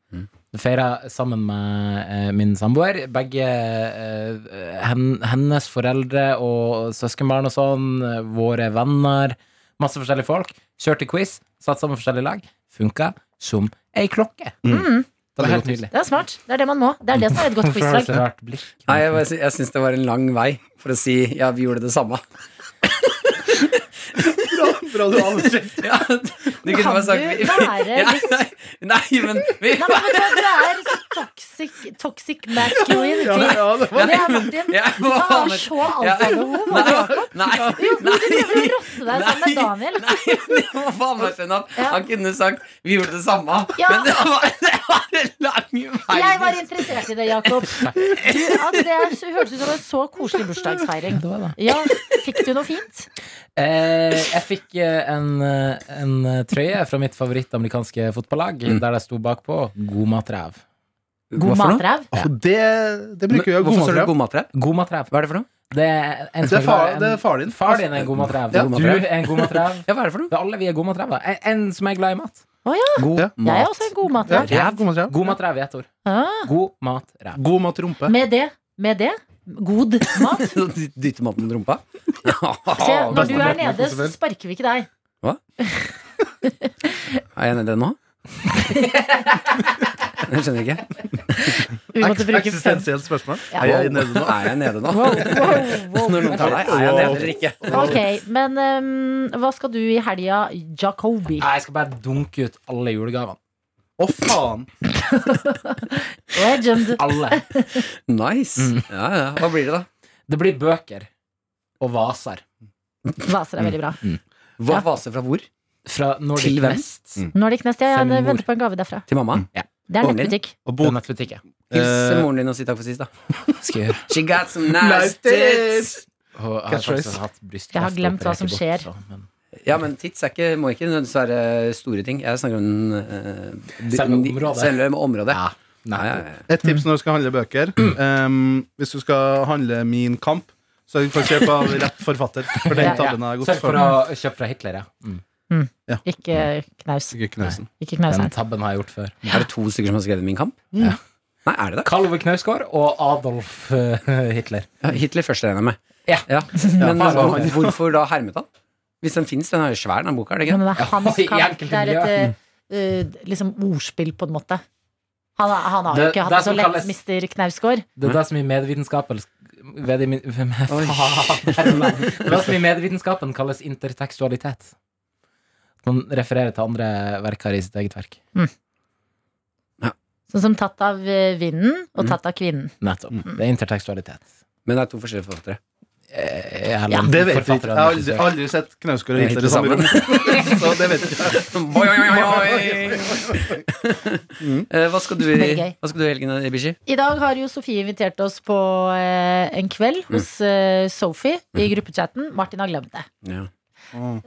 Speaker 4: Det feira sammen med eh, min samboer. Begge eh, hen, hennes foreldre og søskenbarn og sånn. eh, Våre venner. Masse forskjellige folk. Kjørte quiz. Satt sammen forskjellige lag. Funka som ei klokke. Det var helt nydelig.
Speaker 3: Det er smart. Det er det man må. Det er det som er et godt
Speaker 4: Hvorfor har du
Speaker 3: quizlag.
Speaker 4: så rart blikk?
Speaker 2: Nei, jeg, bare sy- jeg syns det var en lang vei for å si ja, vi gjorde det samme.
Speaker 5: Bra, bra du avslutter.
Speaker 2: Ja, du kunne
Speaker 3: Kan
Speaker 2: bare sagt
Speaker 3: du
Speaker 2: vi-
Speaker 3: være
Speaker 2: Ja,
Speaker 3: litt-
Speaker 2: nei, Nei, men vi,
Speaker 3: Nei, men vet du hva, du er så toxic, toxic masculinity.
Speaker 5: Ja, ja, det var
Speaker 3: Det er Martin.
Speaker 2: Ja,
Speaker 3: Du kan være så
Speaker 2: Ja.
Speaker 3: alfabehov.
Speaker 2: Nei, nei, nei,
Speaker 3: Du rotter deg sammen med Daniel.
Speaker 2: nei, men jeg må faen meg skjønne at
Speaker 3: Ja.
Speaker 2: han kunne sagt 'vi gjorde det samme',
Speaker 3: Ja.
Speaker 2: men det var, det var en lang vei.
Speaker 3: Jeg var interessert i det, Jakob. Du, altså, det er, høres ut som en så koselig bursdagsfeiring.
Speaker 4: Det var det.
Speaker 3: Ja, Fikk du noe fint?
Speaker 4: Eh, jeg fikk eh, en, eh, en eh, trøye fra mitt favorittamerikanske fotballag, der det sto bakpå 'God matræv'.
Speaker 3: God
Speaker 2: Hva for noe?
Speaker 3: matræv.
Speaker 5: Åh, det, Altså, det bruker vi.
Speaker 2: Hvorfor står det god matrev?
Speaker 4: God matræv.
Speaker 2: Hva er det for noe?
Speaker 4: Det er, en
Speaker 5: Det
Speaker 4: som
Speaker 5: er,
Speaker 4: er
Speaker 5: far,
Speaker 4: glad i en-
Speaker 5: det er far din.
Speaker 4: Far din er en god matræv.
Speaker 5: Ja.
Speaker 4: Du er en god matræv.
Speaker 2: Ja, hva er det for noe?
Speaker 4: Det er alle vi er gode matræver. En, en som er glad i mat.
Speaker 2: God
Speaker 5: Ja.
Speaker 3: Jeg er også en god
Speaker 5: Ja,
Speaker 3: matræv.
Speaker 5: Altså, ja, god matræv.
Speaker 4: God matræv i ett ord.
Speaker 3: Ah,
Speaker 4: God matræv.
Speaker 5: God matrumpe.
Speaker 3: med det, med det, god mat.
Speaker 2: Dytte maten i rumpa?
Speaker 3: Se,
Speaker 2: Ah,
Speaker 3: når du er
Speaker 5: Bestemor.
Speaker 3: nede, så sparker vi ikke deg.
Speaker 2: Er jeg nede nå? Jeg skjønner ikke.
Speaker 3: Vi måtte bruke fem.
Speaker 5: Eksistensielt spørsmål.
Speaker 3: Ja.
Speaker 5: Er jeg nede nå?
Speaker 2: Er jeg nede nå?
Speaker 3: Wow, wow, wow.
Speaker 2: Når noen tar deg, er jeg nede eller ikke?
Speaker 3: Ok, men ehm, hva skal du i helga, Jacobi?
Speaker 4: Nei, jeg skal bare dunke ut alle julegavene.
Speaker 5: Å, faen!
Speaker 3: Legend.
Speaker 4: Alle.
Speaker 2: Nice. Mm. Ja, ja. Hva blir det, da?
Speaker 4: Det blir bøker og vaser.
Speaker 3: Vaser er veldig bra.
Speaker 2: Mm, Hva vaser fra hvor?
Speaker 4: Fra Nordic
Speaker 2: Til hvem?
Speaker 4: Nest.
Speaker 3: Nordic Nest, ja,
Speaker 4: Send
Speaker 3: jeg
Speaker 4: mor.
Speaker 3: venter på en gave derfra.
Speaker 2: Til mamma?
Speaker 3: Det er
Speaker 2: Ungen.
Speaker 3: nettbutikk.
Speaker 5: Og
Speaker 4: På
Speaker 5: bok.
Speaker 4: nettbutikken.
Speaker 2: Hils
Speaker 5: Mm. Eh,
Speaker 2: moren din og si takk for sist, da.
Speaker 4: Skal jeg gjøre.
Speaker 2: She got some
Speaker 5: Nice
Speaker 2: nice tits!
Speaker 5: tits!
Speaker 4: Og jeg har
Speaker 5: Catchphrase.
Speaker 4: faktisk hatt brystkreft
Speaker 3: Jeg har glemt hva som
Speaker 4: operert
Speaker 3: skjer.
Speaker 4: bort, så, men-
Speaker 2: Ja, men tits er ikke, må ikke nødvendigvis være store ting. Jeg snakker om eh, de-
Speaker 4: Selve
Speaker 2: de-
Speaker 4: området.
Speaker 2: Selve området.
Speaker 4: Ja.
Speaker 2: Ja,
Speaker 4: Nei.
Speaker 2: ja, ja.
Speaker 5: Et tips når du skal handle bøker. Um, hvis du skal handle Min kamp, så får du kjøpe av rett forfatter.
Speaker 3: Ja,
Speaker 5: For den
Speaker 3: ja.
Speaker 5: tabben er godt
Speaker 4: Sørg for å kjøpe fra Hitler, ja. Mm.
Speaker 3: Ikke knaus.
Speaker 5: Knausen.
Speaker 3: Ikke knaus,
Speaker 4: Den
Speaker 3: nei.
Speaker 4: tabben har jeg gjort før.
Speaker 2: Er det to stykker som har skrevet Min kamp?
Speaker 4: Ja.
Speaker 2: Nei, er det det?
Speaker 4: Karl Ove Knausgård og Adolf eh, Hitler.
Speaker 2: Ja, Hitler først regner jeg med.
Speaker 4: Ja.
Speaker 2: Men
Speaker 4: Ja,
Speaker 2: hvor-
Speaker 4: han-
Speaker 2: hvorfor da hermet han? Hvis den fins, den er jo svær, den boka. er det ikke?
Speaker 3: Men det er hans
Speaker 4: Ja, i
Speaker 3: kamp.
Speaker 4: enkelte
Speaker 3: Det er et eh, eh, liksom ordspill, på en måte. Han, har- han har jo
Speaker 4: Det-
Speaker 3: ikke hatt
Speaker 4: det
Speaker 3: det så
Speaker 4: som
Speaker 3: lett,
Speaker 4: kalles-
Speaker 3: mister Knausgård.
Speaker 4: Det er det som i medvitenskapen vedimi- hvem er
Speaker 2: Oi.
Speaker 4: faen? Det er det som i medvitenskapen kalles intertekstualitet. Man refererer til andre verker i sitt eget verk.
Speaker 3: Sånn som tatt av eh, vinden og tatt av kvinnen.
Speaker 4: Nettopp. Mm. Det er intertekstualitet.
Speaker 2: Men det er to forskjellige forfattere.
Speaker 4: Eh,
Speaker 3: Ja.
Speaker 4: Eller
Speaker 5: Det vet vi ikke. Jeg har aldri,
Speaker 4: forfatteren.
Speaker 5: aldri sett Knausgård og
Speaker 2: Jeg
Speaker 5: Hitler i samme
Speaker 2: sammen.
Speaker 5: rom. Så det vet jeg ikke.
Speaker 2: Oi, oi, oi, oi. Eh, Hva skal du i
Speaker 3: Veldig gøy.
Speaker 2: hva skal du i helgen, Ibishi?
Speaker 3: I dag har jo Sofie invitert oss på eh, en kveld hos eh, Sophie i gruppechatten. Martin har glemt det.
Speaker 2: Ja.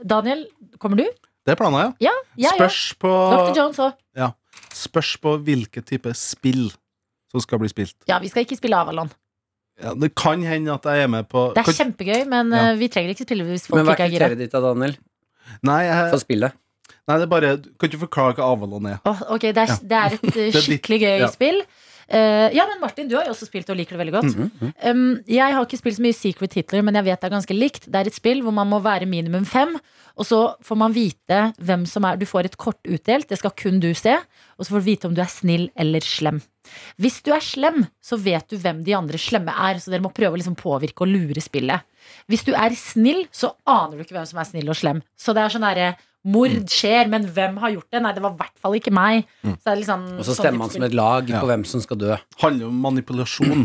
Speaker 3: Daniel, kommer du?
Speaker 5: Det er planer, ja.
Speaker 3: Ja, jeg òg.
Speaker 5: Spørs på,
Speaker 3: Dr. Jones òg.
Speaker 5: spørs på hvilken type spill som skal bli spilt.
Speaker 3: Ja, vi skal ikke spille Avalon.
Speaker 5: Ja, det kan hende at jeg er med på
Speaker 3: Det er
Speaker 5: kan-
Speaker 3: kjempegøy, men
Speaker 5: Ja.
Speaker 3: eh, vi trenger ikke spille hvis folk
Speaker 2: Men hva
Speaker 3: ikke
Speaker 2: er
Speaker 3: er gira.
Speaker 2: kriteriet ditt da, Daniel?
Speaker 5: Nei,
Speaker 2: For
Speaker 5: jeg,
Speaker 2: spillet?
Speaker 5: nei, det er bare Kan ikke forklare hva Avalon er.
Speaker 3: Åh, ok, det er, det er et eh,
Speaker 5: ditt-
Speaker 3: skikkelig gøy
Speaker 5: ja.
Speaker 3: spill. Eh, ja, men Martin, du har jo også spilt og liker det veldig godt. um, jeg har ikke spilt så mye Secret Hitler, men jeg vet det er ganske likt. Det er et spill hvor man må være minimum fem, og så får man vite hvem som er Du får et kort utdelt, det skal kun du se, og så får du vite om du er snill eller slem. Hvis du er slem, så vet du hvem de andre slemme er, så dere må prøve å liksom påvirke og lure spillet. Hvis du er snill, så aner du ikke hvem som er snill og slem. Så det er sånn derre
Speaker 2: Mm.
Speaker 3: Mord skjer, men hvem har gjort det? Nei, det var i hvert fall ikke meg. Så det er litt sånn-
Speaker 2: Og så
Speaker 3: sånn
Speaker 2: stemmer
Speaker 3: type
Speaker 2: man som
Speaker 3: spill.
Speaker 2: et lag på
Speaker 5: Ja.
Speaker 2: hvem som skal dø.
Speaker 5: Handler om manipulasjon.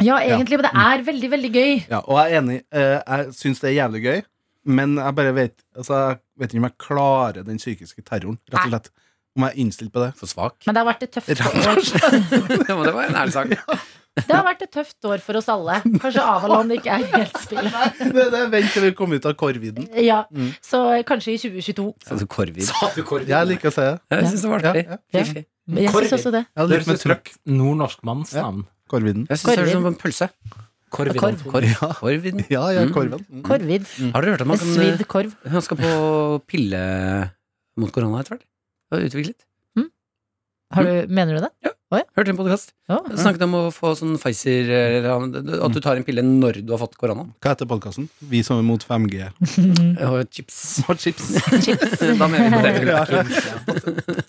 Speaker 3: Ja, egentlig, men det er veldig, veldig gøy.
Speaker 5: Ja, og jeg er enig. eh, Jeg syns det er jævlig gøy, men jeg bare vet Altså, jeg vet ikke om jeg klarer den psykiske terroren, rett og slett. Om jeg er innstilt på det.
Speaker 2: For svak.
Speaker 3: Men det har vært et tøft
Speaker 5: Rett
Speaker 3: år.
Speaker 5: og slett.
Speaker 2: Ja, men det var en ærlig sak.
Speaker 3: Det har vært et tøft år for oss alle. Kanskje Avalon ikke er helt spillet.
Speaker 5: Det, det, vent til vi kommer ut av korviden.
Speaker 3: Ja,
Speaker 5: Mm.
Speaker 3: så kanskje i 2022.
Speaker 2: Altså, korvid.
Speaker 4: Sa du korv?
Speaker 5: Jeg liker å si det.
Speaker 2: Jeg syns det var artig.
Speaker 5: Ja,
Speaker 3: ja.
Speaker 2: Fiffig.
Speaker 3: Men Jeg syns
Speaker 4: Korvi.
Speaker 3: også det.
Speaker 5: Jeg
Speaker 4: Det
Speaker 5: liker
Speaker 4: høres
Speaker 5: med
Speaker 4: ut som
Speaker 5: trøkk.
Speaker 4: et nordnorsk mannsnavn.
Speaker 5: Korviden.
Speaker 2: Jeg syns det høres ut
Speaker 3: Korvid.
Speaker 2: som en pølse.
Speaker 4: Korv.
Speaker 3: Korv.
Speaker 4: Anton.
Speaker 2: Korv. Korvid.
Speaker 5: Ja, ja,
Speaker 2: Mm.
Speaker 5: korven. Mm.
Speaker 3: Korvid.
Speaker 2: Har dere hørt om
Speaker 3: Med
Speaker 2: han kan
Speaker 3: svidd korv.
Speaker 2: Han skal på pille mot korona etter hvert. Det var Utviklet.
Speaker 3: Har du, mener du det?
Speaker 2: Hørte en podkast.
Speaker 3: Ja.
Speaker 2: Snakket om å få sånn Pfizer eller At du tar en pille når du har fått korona.
Speaker 5: Hva heter podkasten? Vi som er mot 5G.
Speaker 2: Og chips.
Speaker 5: Og chips.
Speaker 3: Chips.
Speaker 2: da mener vi det.
Speaker 5: Ja.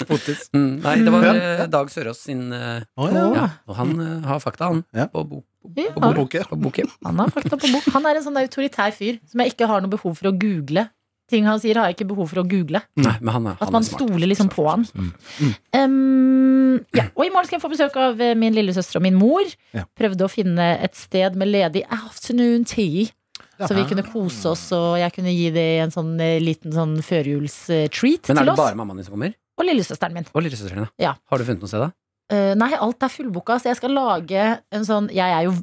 Speaker 2: Potis. Mm, nei, det var
Speaker 5: Ja.
Speaker 2: eh, Dag Sørås sin eh,
Speaker 5: Å, ja.
Speaker 2: ja, Og han eh, har fakta, han.
Speaker 5: Ja.
Speaker 2: På, bo,
Speaker 3: Ja,
Speaker 5: Og boke.
Speaker 2: på boken.
Speaker 3: han har fakta på bok. Han er en sånn autoritær fyr som jeg ikke har noe behov for å google. Ting han sier, har jeg ikke behov for å google.
Speaker 2: Nei, men han, er-
Speaker 3: At
Speaker 2: han
Speaker 3: man
Speaker 2: er smart.
Speaker 3: stoler liksom på han.
Speaker 4: Mm.
Speaker 3: Um, ja. Og i morgen skal jeg få besøk av eh, min lillesøster og min mor.
Speaker 5: Ja.
Speaker 3: Prøvde å finne et sted med ledig afternoon tea. Så vi kunne kose oss, og jeg kunne gi det en sånn eh, liten sånn førjuls-treat
Speaker 2: Men er
Speaker 3: til
Speaker 2: det
Speaker 3: oss.
Speaker 2: bare mammaen din som kommer?
Speaker 3: Og lillesøsteren min.
Speaker 2: Og lillesøsteren din?
Speaker 3: Ja.
Speaker 2: Har du funnet noe sted, da?
Speaker 3: Eh, nei, alt er fullbooka, så jeg skal lage en sånn Jeg er jo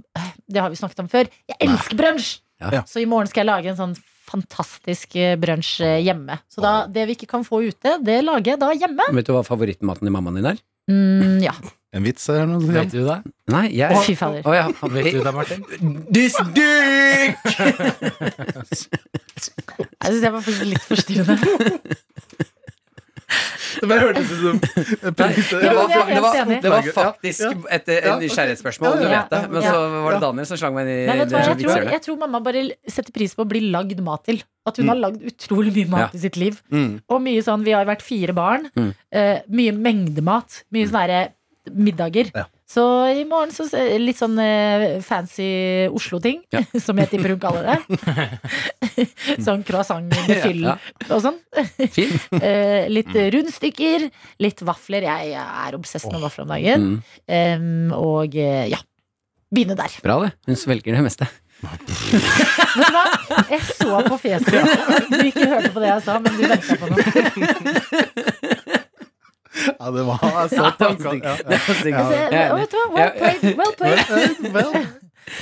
Speaker 3: Det har vi snakket om før. Jeg elsker brunsj!
Speaker 2: Ja.
Speaker 3: Så i morgen skal jeg lage en sånn fantastisk eh, brunsj eh, hjemme. Så da, det vi ikke kan få ute, det lager jeg da hjemme.
Speaker 2: Vet du hva favorittmaten til mammaen din er?
Speaker 3: Mm, ja.
Speaker 5: En vits her nå? sier
Speaker 4: Vet
Speaker 5: jeg.
Speaker 4: du det?
Speaker 2: Nei, jeg
Speaker 3: Fy fader.
Speaker 2: Å, ja.
Speaker 4: Vet du det, Martin?
Speaker 2: This dick!
Speaker 3: Jeg syns jeg var faktisk litt forstyrrende.
Speaker 5: Det bare hørtes ut som en premisse.
Speaker 2: Det
Speaker 3: Ja,
Speaker 2: var,
Speaker 3: men jeg er helt
Speaker 2: det var,
Speaker 3: enig.
Speaker 2: det var faktisk
Speaker 5: Ja.
Speaker 2: et, et
Speaker 5: Ja.
Speaker 2: nysgjerrighetsspørsmål, du
Speaker 5: Ja, ja,
Speaker 2: vet det.
Speaker 5: ja.
Speaker 2: Men
Speaker 5: Ja.
Speaker 2: så var det Daniel som slang meg inn i
Speaker 3: Nei, vet du hva,
Speaker 2: det
Speaker 3: jeg, tror,
Speaker 2: vitshjulet.
Speaker 3: jeg tror mamma bare setter pris på å bli lagd mat til. At hun har lagd utrolig mye mat
Speaker 2: Ja.
Speaker 3: i sitt liv.
Speaker 5: Mm.
Speaker 3: Og mye sånn, vi har vært fire barn.
Speaker 2: Mm.
Speaker 3: Eh, mye mengdemat. Mye sånne her eh, middager.
Speaker 5: Ja.
Speaker 3: Så i morgen så se- litt sånn eh, fancy Oslo-ting,
Speaker 2: Ja.
Speaker 3: som jeg tipper hun kaller det. sånn croissant med fyll
Speaker 2: Ja,
Speaker 3: og sånn.
Speaker 2: Fint.
Speaker 3: Eh, litt rundstykker, litt vafler. Jeg er obsess med vafler om dagen.
Speaker 2: Mm.
Speaker 3: Em, og eh, ja. Begynne der.
Speaker 2: Bra, det. Hun svelger det meste.
Speaker 3: Vet du hva? Jeg så på fjeset ditt. Du ikke hørte på det jeg sa, men du venta på noe.
Speaker 5: Ja, det var jeg
Speaker 2: Ja, det
Speaker 5: så
Speaker 2: var
Speaker 5: tanken.
Speaker 2: stygg.
Speaker 5: Ja,
Speaker 2: Det var stygg.
Speaker 5: Ja.
Speaker 3: Så,
Speaker 2: Jeg er
Speaker 3: og
Speaker 2: enig.
Speaker 3: vet du hva? Well played. Well played.
Speaker 5: ja. Vel,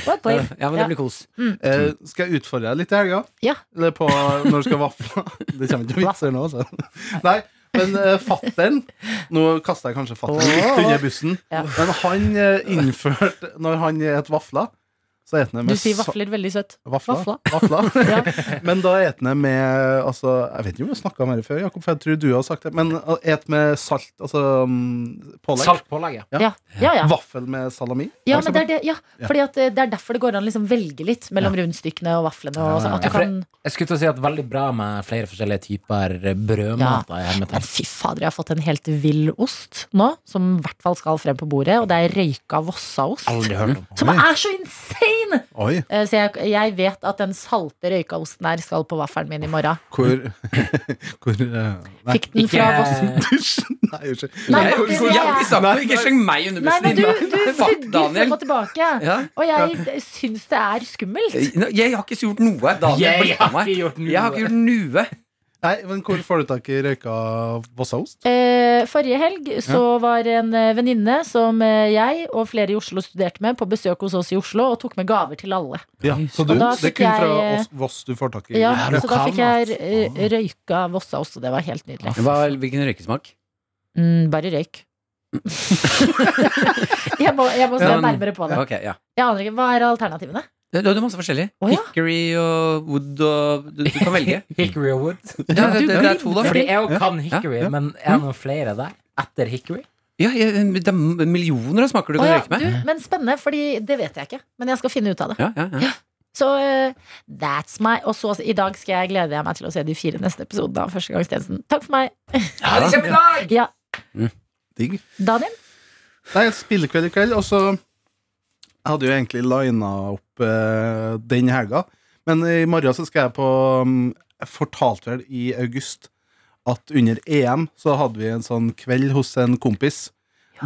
Speaker 3: Well played.
Speaker 2: Ja, men det blir kos.
Speaker 5: Eh, skal jeg utfordre deg litt i helga?
Speaker 3: Ja.
Speaker 5: Eller på når du skal vafle? Det kommer ikke til vitser nå, altså. Nei, men eh, fatteren Nå kaster jeg kanskje fatteren litt under bussen,
Speaker 3: Ja.
Speaker 5: men han eh, innførte Når han et vafler, så eter han
Speaker 3: Du
Speaker 5: med
Speaker 3: sier
Speaker 5: sa-
Speaker 3: vafler veldig søtt.
Speaker 5: Vafler.
Speaker 3: Vafla.
Speaker 5: Vafler.
Speaker 3: Ja.
Speaker 5: Men da eter han med Altså, jeg vet ikke om vi har snakka om det før, Jakob, for jeg tror du har sagt det, men å et med salt, altså mm, pålegg.
Speaker 4: Saltpålegget.
Speaker 3: Ja, ja. ja.
Speaker 5: Vaffel med salami.
Speaker 3: ja men det er det, ja.
Speaker 5: Ja.
Speaker 3: Fordi at eh, det er derfor det går an å liksom velge litt mellom rundstykkene og vaflene. Og sånn, at
Speaker 4: Ja,
Speaker 3: du
Speaker 4: for
Speaker 3: kan...
Speaker 4: Jeg skulle til å si at veldig bra med flere forskjellige typer brødmat. da, i
Speaker 3: Men
Speaker 4: hermetegn.
Speaker 3: fy fader, jeg har fått en helt vill ost nå, som i hvert fall skal frem på bordet. Og det er røyka Vossaost.
Speaker 4: Aldri hørt om.
Speaker 3: Som er så insane!
Speaker 5: Oi,
Speaker 3: Eh, Så jeg, jeg vet at den salte røykaosten her skal på vaffelen min i morgen.
Speaker 5: hvor, hvor eh, Nei,
Speaker 3: Fikk den fra Voss.
Speaker 4: eh,
Speaker 5: nei unnskyld.
Speaker 3: Nei,
Speaker 2: Jeg
Speaker 3: men
Speaker 2: orker
Speaker 3: det-
Speaker 2: ikke å jævlig sammen. Ikke sleng meg under
Speaker 3: Nei, men du,
Speaker 2: bussen.
Speaker 3: du
Speaker 2: Fuck,
Speaker 3: vugger frem
Speaker 2: Daniel.
Speaker 3: og tilbake.
Speaker 2: Ja.
Speaker 3: Og jeg syns det er skummelt.
Speaker 2: Nå, Jeg har ikke gjort noe. Daniel
Speaker 4: Jeg
Speaker 2: blikka
Speaker 4: har
Speaker 2: meg.
Speaker 4: ikke gjort noe.
Speaker 2: Jeg har ikke gjort noe.
Speaker 5: Nei, men hvor får du tak i røyka vossaost?
Speaker 3: Eh, forrige helg så var en eh, venninne som eh, jeg og flere i Oslo studerte med, på besøk hos oss i Oslo og tok med gaver til alle.
Speaker 5: Ja, så du,
Speaker 3: Og da
Speaker 5: det er
Speaker 3: fikk
Speaker 5: kun
Speaker 3: jeg,
Speaker 5: fra
Speaker 3: eh,
Speaker 5: oss, Voss du får tak i?
Speaker 3: Ja,
Speaker 4: det er
Speaker 3: så da fikk jeg
Speaker 4: lokalmat.
Speaker 3: eh, røyka Vossaost, og det var helt nydelig.
Speaker 2: Hva- Hvilken røykesmak?
Speaker 3: Mm, bare røyk. jeg, må, jeg må se
Speaker 2: Ja, men-
Speaker 3: nærmere på det.
Speaker 2: Ok, ja.
Speaker 3: Jeg aner ikke, Hva er alternativene?
Speaker 2: Det det er masse forskjellig.
Speaker 3: Å, ja.
Speaker 2: Hickory og wood og Du, du kan velge.
Speaker 4: Hickory og wood.
Speaker 2: Ja, det, det, det er to, da.
Speaker 4: Fordi jeg jo kan
Speaker 2: Ja,
Speaker 4: hickory,
Speaker 5: ja.
Speaker 4: men er det noen flere der? Etter hickory?
Speaker 2: Ja, ja, det er millioner av smaker du
Speaker 3: Å
Speaker 2: kan
Speaker 3: ja,
Speaker 2: røyke med.
Speaker 3: du, men spennende, fordi det vet jeg ikke. Men jeg skal finne ut av det.
Speaker 2: Ja, ja, ja.
Speaker 3: Så eh, that's my Og så i dag skal jeg glede jeg meg til å se de fire neste episodene av Førstegangstjenesten. Takk for meg.
Speaker 4: Ja, det kommer i dag!
Speaker 3: Ja,
Speaker 2: Mm.
Speaker 5: Digg.
Speaker 3: Daniel?
Speaker 5: Nei, spillekveld i kveld, og så Jeg hadde jo egentlig lina opp eh, den helga, men i morgen så skal jeg på mm, Jeg fortalte vel i august at under EM så hadde vi en sånn kveld hos en kompis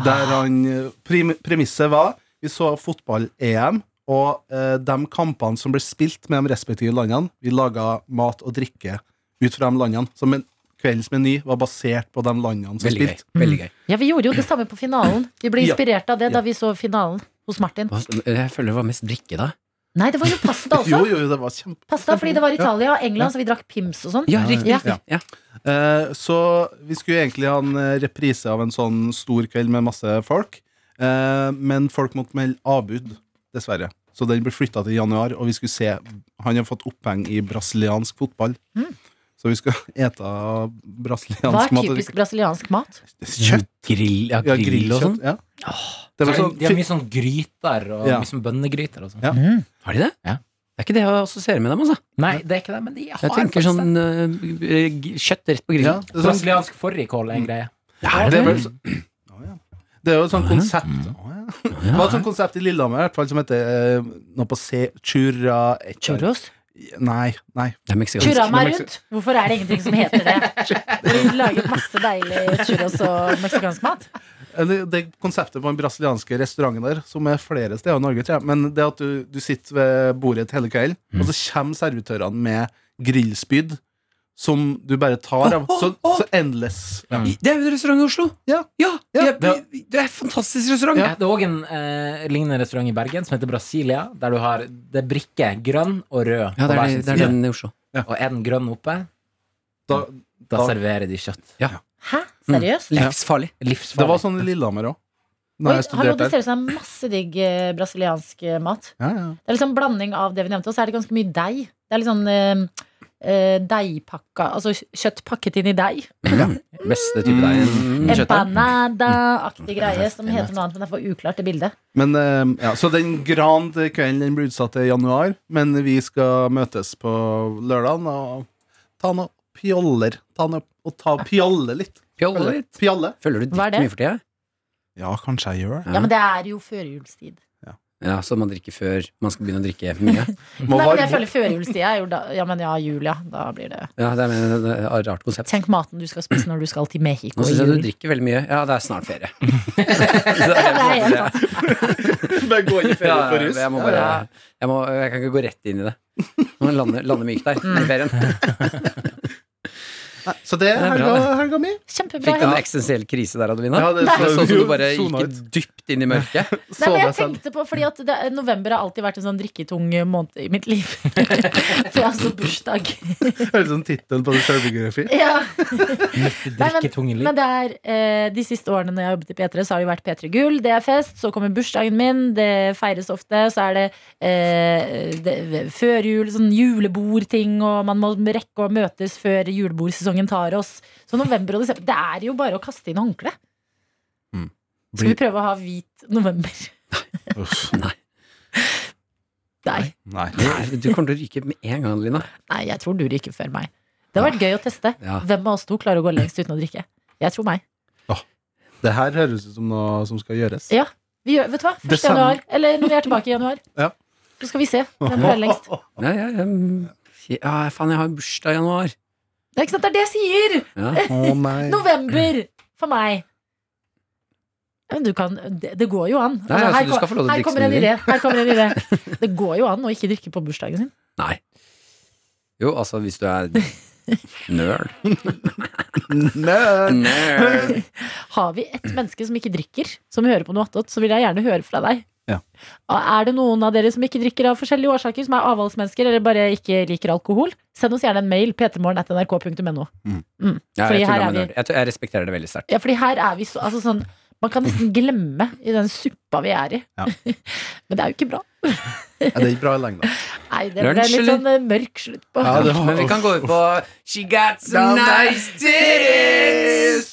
Speaker 5: der han eh, prim, Premisset var Vi så fotball-EM, og eh, de kampene som ble spilt med de respektive landene Vi laga mat og drikke ut fra de landene. Så men, kveldens meny var basert på de landene som
Speaker 2: Veldig gøy. Mm.
Speaker 5: spilte.
Speaker 2: Veldig gøy.
Speaker 3: Ja, vi gjorde jo det samme på finalen. Vi ble
Speaker 5: Ja.
Speaker 3: inspirert av det
Speaker 5: Ja.
Speaker 3: da vi så finalen hos Martin.
Speaker 2: Hva- Jeg føler det var mest drikke, da.
Speaker 3: Nei, det var jo pasta
Speaker 5: Jo,
Speaker 3: også.
Speaker 5: jo, det var kjempe
Speaker 3: Pasta fordi det var Italia og England, så vi drakk pims og sånn.
Speaker 2: Ja, riktig.
Speaker 3: Ja.
Speaker 2: riktig. Ja.
Speaker 5: Eh, Så vi skulle egentlig ha en eh, reprise av en sånn stor kveld med masse folk. Eh, Men folk måtte melde avbud, dessverre. Så den ble flytta til januar, og vi skulle se Han har fått oppheng i brasiliansk fotball. Så vi skal ete
Speaker 3: Hmm. Hva
Speaker 5: brasiliansk
Speaker 3: er
Speaker 5: mat. og
Speaker 3: typisk brasiliansk mat?
Speaker 5: drikke- Kjøtt!
Speaker 2: Grill, ja,
Speaker 5: Ja,
Speaker 2: grill, og sånn.
Speaker 5: grillkjøtt. Ja. Det var sånn
Speaker 4: De har mye sånn gryter, og
Speaker 5: Ja.
Speaker 4: mye sånn bønnegryter og sånn.
Speaker 5: Ja.
Speaker 2: Har de det?
Speaker 4: Ja.
Speaker 2: Det er ikke det jeg assosierer med dem. altså
Speaker 4: Nei, det er ikke det, men de har
Speaker 2: Jeg tenker
Speaker 4: faktisk det.
Speaker 2: sånn eh, g- kjøtt rett på
Speaker 5: ja,
Speaker 2: grillen.
Speaker 5: det er sånn-
Speaker 4: Brasiliansk fårikål
Speaker 2: Mm.
Speaker 4: er en greie.
Speaker 5: Ja, det er vel så- Å, ja. Det er jo et sånt konsept Å, ja. Det var et sånt konsept i Lillehammer i hvert fall, som heter eh, noe på C... Churra...
Speaker 3: Churros?
Speaker 5: Nei, nei.
Speaker 2: Det er meksikansk.
Speaker 3: Churra meg rundt! Hvorfor er det ingenting som heter det? Vi lager masse deilig churros og meksikansk mat.
Speaker 5: Eller Eh, det konseptet på den brasilianske restauranten der, som er flere steder i Norge, tror jeg, men det at du, du sitter ved bordet hele kvelden, og så kommer servitørene med grillspyd som du bare tar av. Så, så endless. Ja.
Speaker 4: Mm.
Speaker 2: Det er jo en restaurant i Oslo!
Speaker 5: Ja.
Speaker 2: ja,
Speaker 5: Ja.
Speaker 2: det, er, det er en fantastisk restaurant!
Speaker 4: Ja. Det er òg en eh, lignende restaurant i Bergen som heter Brasilia, der du har det er brikke grønn og rød
Speaker 2: Ja,
Speaker 4: på
Speaker 2: det
Speaker 4: hver
Speaker 2: er,
Speaker 4: sin
Speaker 2: det er
Speaker 4: side.
Speaker 2: den i Oslo.
Speaker 5: Ja.
Speaker 4: Og er den grønn oppe,
Speaker 5: Da,
Speaker 4: da,
Speaker 5: Da-
Speaker 4: serverer de kjøtt.
Speaker 3: Hæ? Seriøst?
Speaker 2: Livsfarlig.
Speaker 5: det var
Speaker 4: Livsfarlig.
Speaker 5: sånn i Lillehammer òg.
Speaker 3: Oi,
Speaker 5: Da jeg
Speaker 3: hallo, det
Speaker 5: studerte der.
Speaker 3: ser ut som det er masse digg eh, brasiliansk eh, mat.
Speaker 5: Ja, ja.
Speaker 3: Det er liksom blanding av det vi nevnte, og så er det ganske mye deig. Det er litt sånn eh, eh, deigpakka Altså kjøtt pakket inn i deig.
Speaker 2: Beste type deig. Mm. kjøttdeig.
Speaker 3: Empanada-aktig greie som heter noe annet, men det er for uklart i bildet.
Speaker 5: Men, eh, ja, så den gran til kvelden den ble utsatt til januar, men vi skal møtes på lørdagen og ta noe pjoller. Ta noe, og ta pjalle litt.
Speaker 2: Pjolle litt.
Speaker 5: Pjalle?
Speaker 2: Følger du
Speaker 3: Hva
Speaker 2: dritt
Speaker 3: er det?
Speaker 2: mye for tida?
Speaker 5: Ja, kanskje jeg gjør det.
Speaker 3: Ja, men det er jo førjulstid.
Speaker 2: Ja, så man drikker før man skal begynne å drikke mye.
Speaker 5: Må
Speaker 3: Nei, men jeg
Speaker 5: varme-
Speaker 3: føler førjulstid er jo da Ja, men ja, jul, ja. Da blir det
Speaker 2: Ja, det er men det er et rart konsept.
Speaker 3: Tenk maten du skal spise når du skal til Mexico
Speaker 2: Nå
Speaker 3: i
Speaker 2: syns jeg du
Speaker 3: jul.
Speaker 2: drikker veldig mye. Ja, det er snart ferie.
Speaker 3: Det er helt sant.
Speaker 5: Bare gå inn i
Speaker 2: Ja,
Speaker 5: ferie på rus.
Speaker 2: jeg, må bare, jeg, må, jeg kan ikke gå rett inn i det. Må lande, lande mykt der
Speaker 3: Mm.
Speaker 2: i ferien.
Speaker 5: Nei, Så det er
Speaker 2: Det er bra,
Speaker 5: helga, helga mi.
Speaker 3: Kjempebra.
Speaker 2: Fikk du en
Speaker 3: ja.
Speaker 2: eksistensiell krise der, Adelina?
Speaker 5: Ja, det
Speaker 2: det
Speaker 5: så-
Speaker 2: sånn som du bare
Speaker 5: sona
Speaker 2: gikk
Speaker 5: ut.
Speaker 2: dypt inn i mørket?
Speaker 5: Så
Speaker 3: Nei, men
Speaker 5: meg
Speaker 3: jeg
Speaker 5: selv.
Speaker 3: tenkte på, fordi at det, November har alltid vært en sånn drikketung måned i mitt liv. For jeg har så bursdag.
Speaker 5: Høres ut som tittelen på en selvbiografi.
Speaker 3: Ja.
Speaker 4: Drikketunge liv.
Speaker 3: Men det er, eh, de siste årene når jeg har jobbet i P3, så har det jo vært P3 Gull, det er fest, så kommer bursdagen min, det feires ofte, så er det, eh, det førjul, sånn julebordting, og man må rekke å møtes før julebordsesongen tar oss. Så november og desember, det er jo bare å kaste inn håndkle.
Speaker 5: Mm.
Speaker 3: Skal vi prøve å ha hvit november?
Speaker 5: Uff.
Speaker 2: Nei.
Speaker 3: Nei.
Speaker 5: Nei.
Speaker 2: Nei, du kommer til å ryke med en gang, Adelina.
Speaker 3: Nei, jeg tror du ryker før meg. Det har vært gøy å teste.
Speaker 2: Ja.
Speaker 3: Hvem av oss to klarer å gå lengst uten å drikke? Jeg tror meg.
Speaker 5: Det her høres ut som noe som skal gjøres.
Speaker 3: Ja. Vi gjør, vet du hva?
Speaker 5: Det
Speaker 3: 1.
Speaker 5: samme.
Speaker 3: januar, eller når vi er tilbake i januar.
Speaker 5: Ja.
Speaker 3: Så skal vi se hvem som klarer lengst.
Speaker 2: Ja, ja, ja, mm, ja, faen, jeg har bursdag i januar.
Speaker 3: Det er ikke sant, det er det jeg sier!
Speaker 2: Ja.
Speaker 5: Å nei.
Speaker 3: November for meg. Ja, Men du kan, det, det går jo an.
Speaker 2: Nei, altså,
Speaker 3: her,
Speaker 2: du
Speaker 3: kom-
Speaker 2: skal få lov til å
Speaker 3: her
Speaker 2: drikke
Speaker 3: kommer
Speaker 2: så
Speaker 3: en
Speaker 2: mye
Speaker 3: idé. Her kommer en idé. Det går jo an å ikke drikke på bursdagen sin.
Speaker 2: Nei. Jo, altså, hvis du er nerd.
Speaker 5: Nei.
Speaker 2: Nerd.
Speaker 3: Har vi ett menneske som ikke drikker, som hører på noe attåt, så vil jeg gjerne høre fra deg.
Speaker 5: Ja.
Speaker 3: Er det noen av dere som ikke drikker av forskjellige årsaker, som er avholdsmennesker eller bare ikke liker alkohol, send oss gjerne en mail ptmorgen.nrk.no.
Speaker 2: Ja,
Speaker 3: Fordi
Speaker 2: jeg,
Speaker 3: her
Speaker 2: tuller
Speaker 3: er
Speaker 2: med
Speaker 3: vi-
Speaker 2: nerd. Jeg, tror- jeg respekterer det veldig sterkt.
Speaker 3: Ja, fordi her er vi så altså sånn, Man kan nesten glemme i den suppa vi er i.
Speaker 5: Ja.
Speaker 3: Men det er jo ikke bra.
Speaker 5: Ja, det er ikke bra i lengda.
Speaker 3: Nei, det ble
Speaker 2: Lunsj,
Speaker 3: litt sånn eh, mørk slutt på.
Speaker 5: Ja, det var-
Speaker 2: Men vi kan gå ut på She got some nice titties!